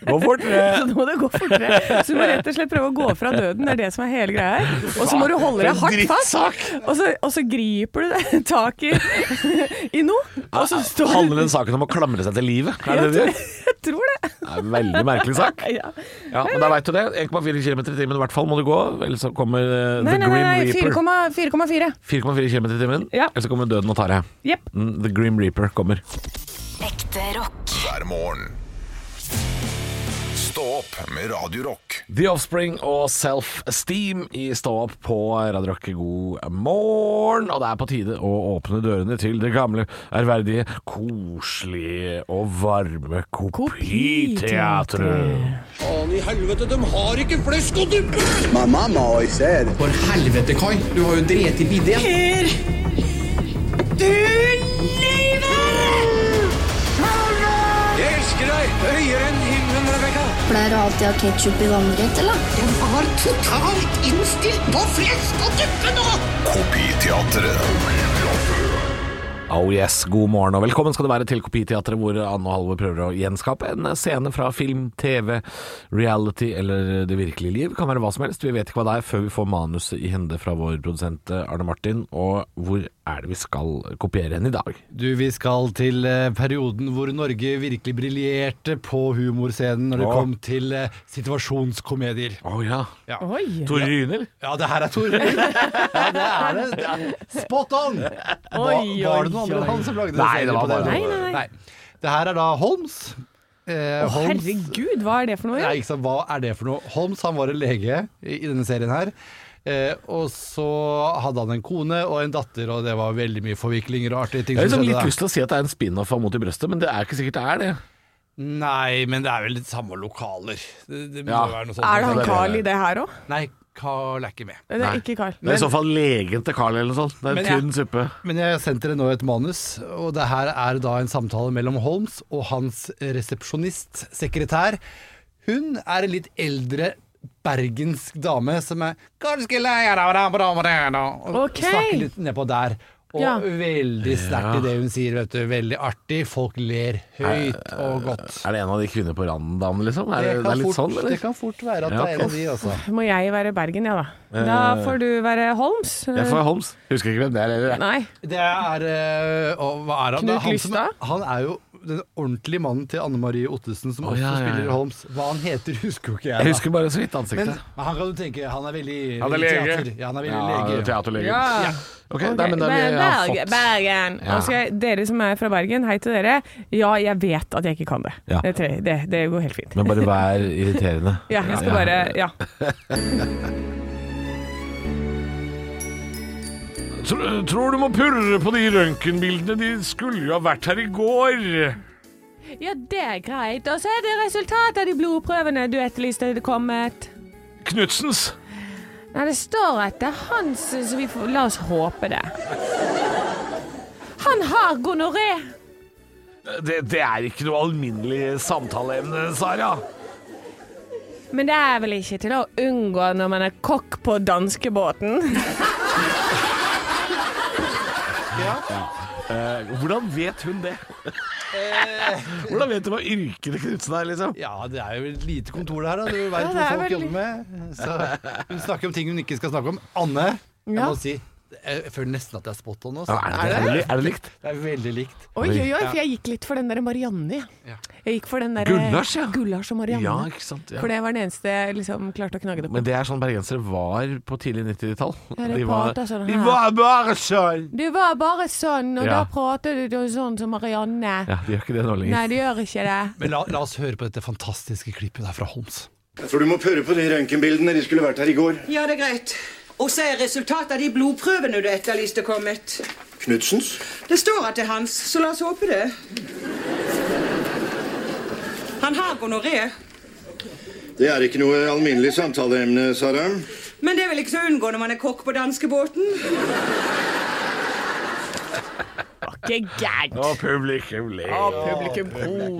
Gå
Så
fortere.
nå må det gå fortere. Så du må rett og slett prøve å gå fra døden, det er det som er hele greia her. Og så må du holde deg hardt fast, og så, og så griper du deg tak i, i noe, og så står du
Handler den saken om å klamre seg til livet? Er det det du gjør?
Jeg tror det.
Det er en veldig merkelig sak.
Ja.
Ja, men da veit du det. 1,4 km i timen i hvert fall må du gå, ellers så kommer eh,
Nei,
The
nei, nei, nei
Grim Reaper.
4,4.
4,4 km i timen,
Ja.
eller så kommer døden og tar deg.
Jepp.
Mm, The Grim Reaper kommer.
Ekte rock.
hver morgen. Stå opp med Radio Rock.
The Offspring og Self Esteem i Stå opp på Radio Rock. God morgen! Og det er på tide å åpne dørene til det gamle, ærverdige, koselige og varme kopiteatret.
My mom always said,
For helvete, Kai. Du har jo drept i bideen.
Jeg elsker deg høyere enn himmelen, Rebekka.
Pleier du alltid å ha ketsjup i vannrett, eller?
Kopiteatret.
Oh yes, god morgen og velkommen skal du være til Kopiteatret, hvor Anne og Halvor prøver å gjenskape en scene fra film, TV, reality eller det virkelige liv. Kan være hva som helst. Vi vet ikke hva det er før vi får manuset i hende fra vår produsent eh, Arne Martin. Og hvor er det vi skal kopiere henne i dag?
Du, vi skal til eh, perioden hvor Norge virkelig briljerte på humorscenen når det
Åh.
kom til eh, situasjonskomedier.
Å ja.
Ja.
Oi.
Tore Ryne, eller?
Ja, det her er Tore Rygg. Ja, det er det. det er spot on! Hva,
Oi,
var det
oi,
noen andre
oi.
enn han som lagde
Nei,
serien
det var
på
bare-
den?
Nei, nei, nei.
Det her er da Holmes. Eh,
Å,
Holmes-
herregud, hva er det for noe?
Nei, ikke sant? Hva er det for noe? Holmes han var en lege i, i denne serien her. Eh, og så hadde han en kone og en datter, og det var veldig mye forviklinger og artige ting
Jeg har
som
liksom
skjedde
litt
da.
lyst til å si at det er en spin-off av Mot i brøstet, men det er ikke sikkert det er det.
Nei, men det er vel litt samme lokaler. Det, det må
Ja.
være noe sånt.
Er det han
det-
Carl i det her òg?
Nei, Carl er ikke med.
Det
Nei.
er ikke Carl.
Det er i så fall legen til Carl eller noe sånt. Det er
Men
en
ja.
tynn suppe.
Men jeg sendte dere nå et manus, og det her er da en samtale mellom Holmes og hans resepsjonist, sekretær. Hun er en litt eldre bergensk dame som er Ganske leia da, da, da, da, da, Og
Ok.
snakker litt nedpå der. Og
Ja.
veldig sterkt i det hun sier, vet du. Veldig artig. Folk ler høyt og godt.
Er det en av de kvinner på randen-damene, liksom? Er det,
Det
det
kan,
er litt
fort,
sånn, eller?
det kan fort være at
Ja,
det er
ok.
en av de, altså.
sånn-
Må jeg være Bergen, ja da. Da får du være Holms.
Eh, Jeg får Holmes. Husker ikke hvem det er, eller?
Nei.
Det er eh, og Hva er han?
Knut
Det er han, som,
Lystad?
han er jo den ordentlige mannen til Anne Marie Ottesen, som
Å,
også
ja, ja,
spiller
ja.
Holmes. Hva han heter, husker jo ikke jeg. da.
Jeg husker bare så vidt ansiktet.
men, men han kan du tenke, han er veldig
Han er
veldig
lege.
teater. Ja, han er veldig
Ja,
lege.
teaterlege.
Ja.
Ok, nei, men da vi
Ber-
har
Berge-
fått
Bergen.
Ja.
Og så skal jeg, dere som er fra Bergen, hei til dere. Ja, jeg vet at jeg ikke kan det.
Ja.
Det, tre- det, det går helt fint.
Men bare vær irriterende.
Ja, jeg skal bare Ja.
Tr- Tror du må purre på de røntgenbildene. De skulle jo ha vært her i går.
ja, det er greit. Og så er det resultatet av de blodprøvene du etterlyste er kommet.
Knutsens.
Nei, det står at det er hans, så vi får La oss håpe det. Han har gonoré.
Det, det er ikke noe alminnelig samtaleemne, Sara.
Men det er vel ikke til å unngå når man er kokk på danskebåten?
Eh, hvordan vet hun det? hvordan vet du hva yrket til Knutsen er, liksom?
Ja, det er jo et lite kontor der, da. Du veit
det er
hva folk
veldig-
jobber med. Så hun snakker om ting hun ikke skal snakke om. Anne, jeg
Ja.
må si jeg føler nesten at det er spot on.
Ja,
Også.
Er det, er det, er det likt?
Det er veldig likt.
Oi, oi, oi, for jeg gikk litt for den der Marianne. jeg.
Ja.
Jeg gikk for den der
Gullars, ja.
Gullars og Marianne.
Ja, ikke sant. Ja.
For det var den eneste jeg liksom klarte å knagge det på.
Men det er sånn bergensere var på tidlig 90-tall.
Ja, det
De var,
prater sånn
de
her.
var bare sånn!
Du var bare sånn, og
Ja.
da prater du sånn som Marianne.
Ja, de gjør ikke det nå lenger.
Nei, du gjør ikke det.
Men la, la oss høre på dette fantastiske klippet der fra Holmes.
Jeg tror du må purre på de røntgenbildene. De skulle vært her i går.
Ja, det er greit. Og så er resultatet av de blodprøvene du etterlyste kommet.
Knutsens?
Det står at det er hans, så la oss håpe det. Han har gonoré,
Det er ikke noe alminnelig samtaleemne, Sara.
men det er vel ikke så å unngå når man er kokk på danskebåten?
Ikke gærent.
Og publikum ler.
Publikum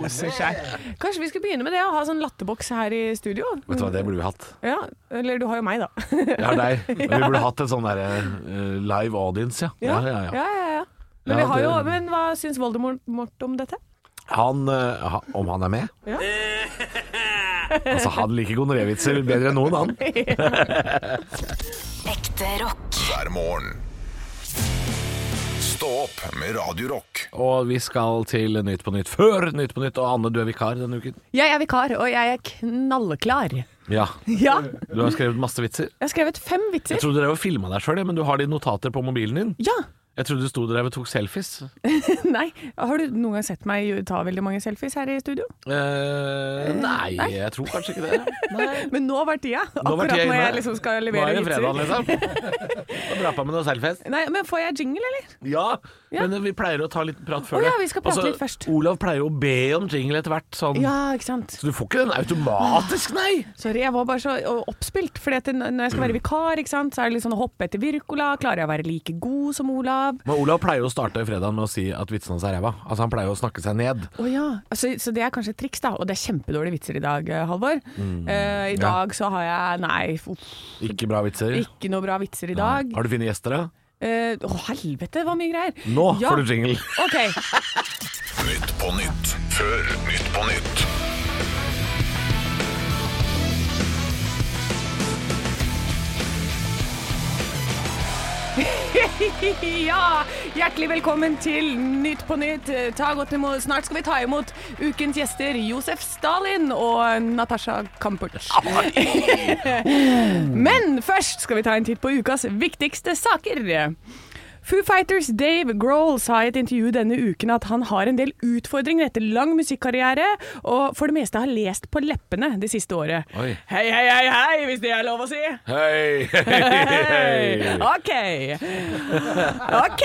koser seg. Kanskje vi skal begynne med det, å ha sånn latterboks her i studio?
Vet du hva, det burde vi hatt.
Ja, Eller du har jo meg, da.
Jeg har deg. Men vi burde hatt en sånn derre eh, live audience, ja. Ja, ja, ja.
ja, ja, ja. Men,
Ja,
vi har jo,
det-
men hva syns Voldemort Mort om dette?
Han eh, ha- Om han er med?
Ja.
Altså, han liker gonoré-vitser bedre enn noen, han.
Ekte rock.
hver morgen. Stå opp med Radio Rock.
Og vi skal til Nytt på Nytt før Nytt på Nytt, og Anne, du er vikar denne uken.
Jeg er vikar, og jeg er knallklar.
Ja.
Ja.
Du har skrevet masse vitser.
Jeg har skrevet fem
Jeg
vitser.
trodde dere filma deg sjøl, men du har de notater på mobilen din.
Ja.
Jeg trodde du sto der og tok selfies.
Nei. Har du noen gang sett meg ta veldig mange selfies her i studio?
Eh, nei, jeg tror kanskje ikke det. Nei.
Men nå var tida.
Nå var
Akkurat
tida
når
inne.
jeg liksom skal
Nå
levere
er det fredag,
vitser.
liksom. Og dra på med noen selfies.
Nei, men får jeg jingle, eller?
Ja,
Ja.
men vi pleier å ta litt prat før
Å ja,
det. Altså,
vi skal prate litt først.
Olav pleier jo å be om jingle etter hvert. Sånn.
Ja, ikke sant.
Så du får ikke den automatisk, nei!
Sorry, jeg var bare så ø, oppspilt. For når jeg skal være vikar, ikke sant, så er det litt sånn å hoppe etter Wirkola. Klarer jeg å være like god som Ola? Olav.
Men Olav pleier jo å starte fredagen med å si at vitsene hans er ræva. Altså, han pleier å snakke seg ned.
Å ja. altså, så det er kanskje et triks, da. Og det er kjempedårlige vitser i dag, eh, Halvor. Eh, I
Mm, Ja.
dag så har jeg Nei, uff,
Ikke bra vitser.
ikke noe bra vitser i dag.
Har du fine gjester, da?
Eh, Å, helvete, hva mye greier.
Nå
Ja.
får du jingle.
Ok.
Nytt på nytt. Før Nytt på nytt.
Ja, hjertelig velkommen til Nytt på Nytt. Ta godt imot. Snart skal vi ta imot ukens gjester Josef Stalin og Natasha Kampuch. Men først skal vi ta en titt på ukas viktigste saker. Foo Fighters Dave Grohl sa i et intervju denne uken at han har en del utfordringer etter lang musikkarriere, og for det meste har lest på leppene det siste året.
Oi.
Hei, hei, hei, hei, hvis det er lov å si.
Hei,
Hei. OK. OK.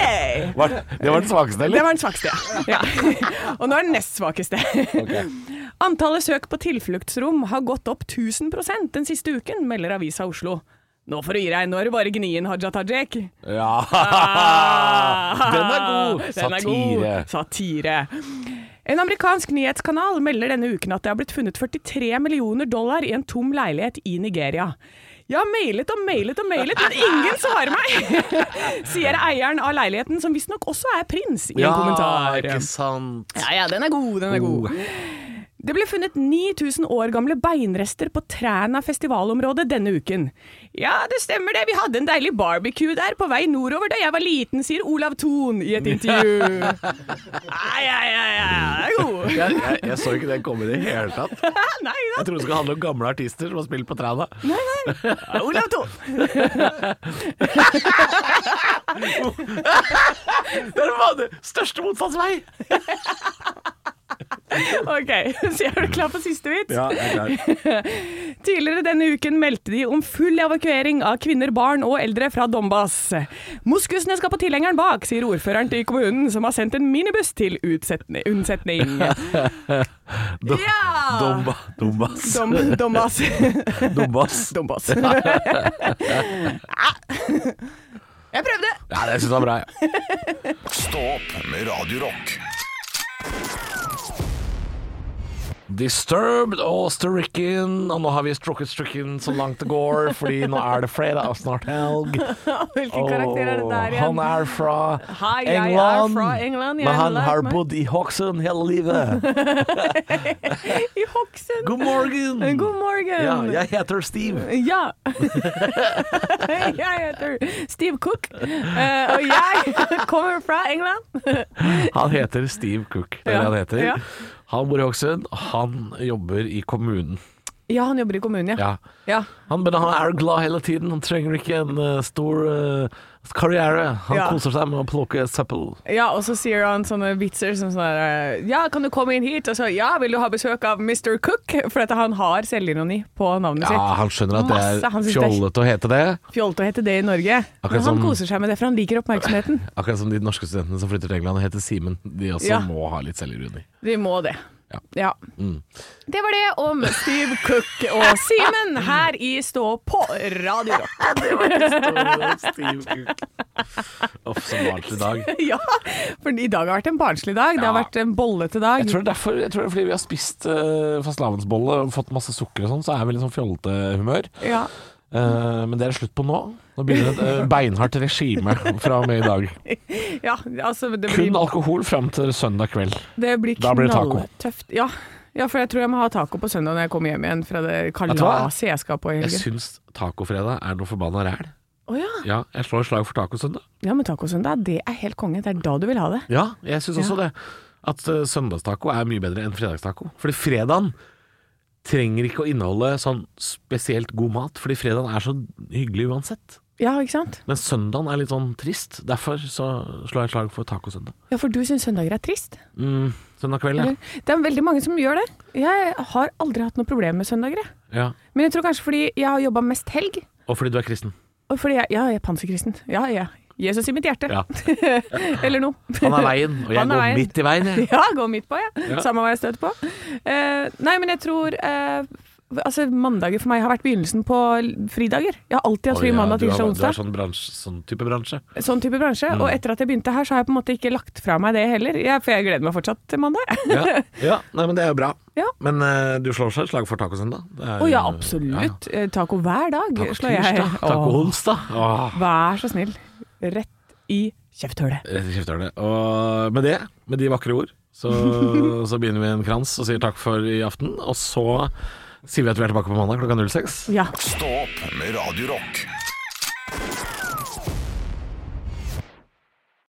Var, det var den svakeste,
Det
eller?
var den svakeste, ja. ja. Og nå er den nest svakeste. Antallet søk på tilfluktsrom har gått opp 1000 den siste uken, melder Avisa Oslo. Nå får du gi deg, nå er det bare gnien, Haja Tajik.
Ja. Den er god.
Ah. Den er god.
Satire.
Satire. En amerikansk nyhetskanal melder denne uken at det har blitt funnet 43 millioner dollar i en tom leilighet i Nigeria. Jeg har mailet og mailet og mailet, men ingen svarer meg! Sier eieren av leiligheten, som visstnok også er prins, i en kommentar.
ikke sant.
Ja, ja, den er god, den er god.
Oh.
Det ble funnet 9000 år gamle beinrester på Træna festivalområde denne uken. Ja, det stemmer det, vi hadde en deilig barbecue der på vei nordover da jeg var liten, sier Olav Thon i et intervju. Ai, ai, ai, ai, den er god.
Jeg, jeg, jeg så ikke den komme i det hele tatt. Jeg
Nei da.
trodde det skulle handle om gamle artister som har spilt på trærne.
Nei, nei. Ja, Olav Thon.
Det var det største motstandsvei!
Ok, så er du klar for siste vits?
Ja, jeg er klar.
Tidligere denne uken meldte de om full evakuering av kvinner, barn og eldre fra Donbas. Moskusene skal på tilhengeren bak, sier ordføreren til kommunen, som har sendt en minibuss til utsetne- unnsetning.
Dom-
Ja!
Domba, dombas.
Dom, Donbas.
Dombas.
Donbas. Jeg prøvde!
Ja, det syns jeg var bra. ja.
Stå opp med Radio Rock.
Disturbed og Stricken. Og nå har vi strukket Stricken så langt det går, fordi nå er det fredag og snart helg.
Hvilken karakter er det der
Åh,
igjen?
Han er fra
Hei, jeg er
England,
fra England, jeg
men
har
han
lært
har
meg-
bodd i Hokksund hele livet.
I Hokksund.
God morgen!
God morgen!
Ja, jeg heter Steve.
Ja. jeg heter Steve Cook, eh, og jeg kommer fra England.
Han heter Steve Cook. Det er
Ja,
det han heter.
ja.
Han bor i Hokksund, han jobber i kommunen.
Ja, han jobber i kommunen, ja.
Ja.
ja.
Han, men han er glad hele tiden, han trenger ikke en eh, stor eh, karriere. Han
Ja.
koser seg med å plukke søppel.
Ja, og så sier han sånne vitser som sånn der, Ja, kan du komme inn hit? Og så ja, vil du ha besøk av Mr. Cook? For at han har selvironi på navnet
Ja,
sitt.
han skjønner at det
Masse,
er
han synes det er-
fjollete å hete det.
Fjolte å hete det i Norge. Men han
som-
koser seg med det, for han liker oppmerksomheten.
Akkurat som de norske studentene som flytter til England og heter Simen. De også
Ja.
må ha litt selvironi.
De må det.
Ja. Mm.
Det var det om Steve Cook og Simen her i Stå på Radio Rock.
Uff, som vart i dag.
Ja, for i dag har vært en barnslig dag. Det har
Ja.
vært en bollete dag.
Jeg tror, det er derfor, jeg tror det er fordi vi har spist uh, fastelavnsbolle og fått masse sukker og sånn, så er vi litt sånn fjollete humør.
Ja.
Eh, men det er det slutt på nå. Nå begynner et eh, beinhardt regime fra og med i dag.
ja, altså det blir,
Kun alkohol fram til søndag kveld.
det blir
da blir det taco.
knalltøft. Ja. ja, for jeg tror jeg må ha taco på søndag når jeg kommer hjem igjen fra det
du hva?
kalaset jeg skal på i
Jeg
helgen.
syns tacofredag er noe forbanna ræl.
Å ja.
Ja, jeg slår et slag for tacosøndag.
ja, men tacosøndag, det er helt konge. Det er da du vil ha det.
Ja, jeg syns også det. At eh, søndagstaco er mye bedre enn fredagstaco. Fordi fredagen trenger ikke å inneholde sånn spesielt god mat, fordi fredagen er så hyggelig uansett.
Ja, ikke sant?
Men søndagen er litt sånn trist. Derfor så slår jeg et slag for tacosøndag.
Ja, for du syns søndager er trist.
Mm, søndag kveld, ja.
Eller? Det er veldig mange som gjør det. Jeg har aldri hatt noe problem med søndager, jeg.
ja.
Men jeg tror kanskje fordi jeg har jobba mest helg.
Og fordi du er kristen.
Og fordi jeg, ja, jeg er panserkristen. Ja, ja. Jesus i mitt hjerte.
Ja.
Eller noe.
Han er veien, og jeg
Han er
går
veien.
midt i veien. Jeg.
Ja, gå midt på, ja.
Ja.
Samme hva jeg støter på. Eh, nei, men jeg tror eh, altså, mandager for meg har vært begynnelsen på l- fridager. Jeg har alltid hatt
Oi,
fri
ja,
mandag,
du har-
tirsdag,
Du har Mm.
onsdag.
sånn, bransje, sånn type bransje.
Sånn type bransje. Og etter at jeg begynte her, så har jeg på en måte ikke lagt fra meg det heller. Jeg, for jeg gleder meg fortsatt til mandag. jeg.
Ja, ja nei, men det er jo bra.
Ja.
Men eh, du slår seg et slag for tacos ennå?
Å ja, absolutt. Eh, Taco hver dag slår jeg.
Tirsdag, taco
Åh,
onsdag. Åh.
Vær så snill. Rett i kjefthullet.
Rett i kjeftehullet. Og med det, med de vakre ord, så, så begynner vi en krans og sier takk for i aften. Og så sier vi at vi er tilbake på mandag klokka 06.
Ja.
Stå opp med Radio Rock.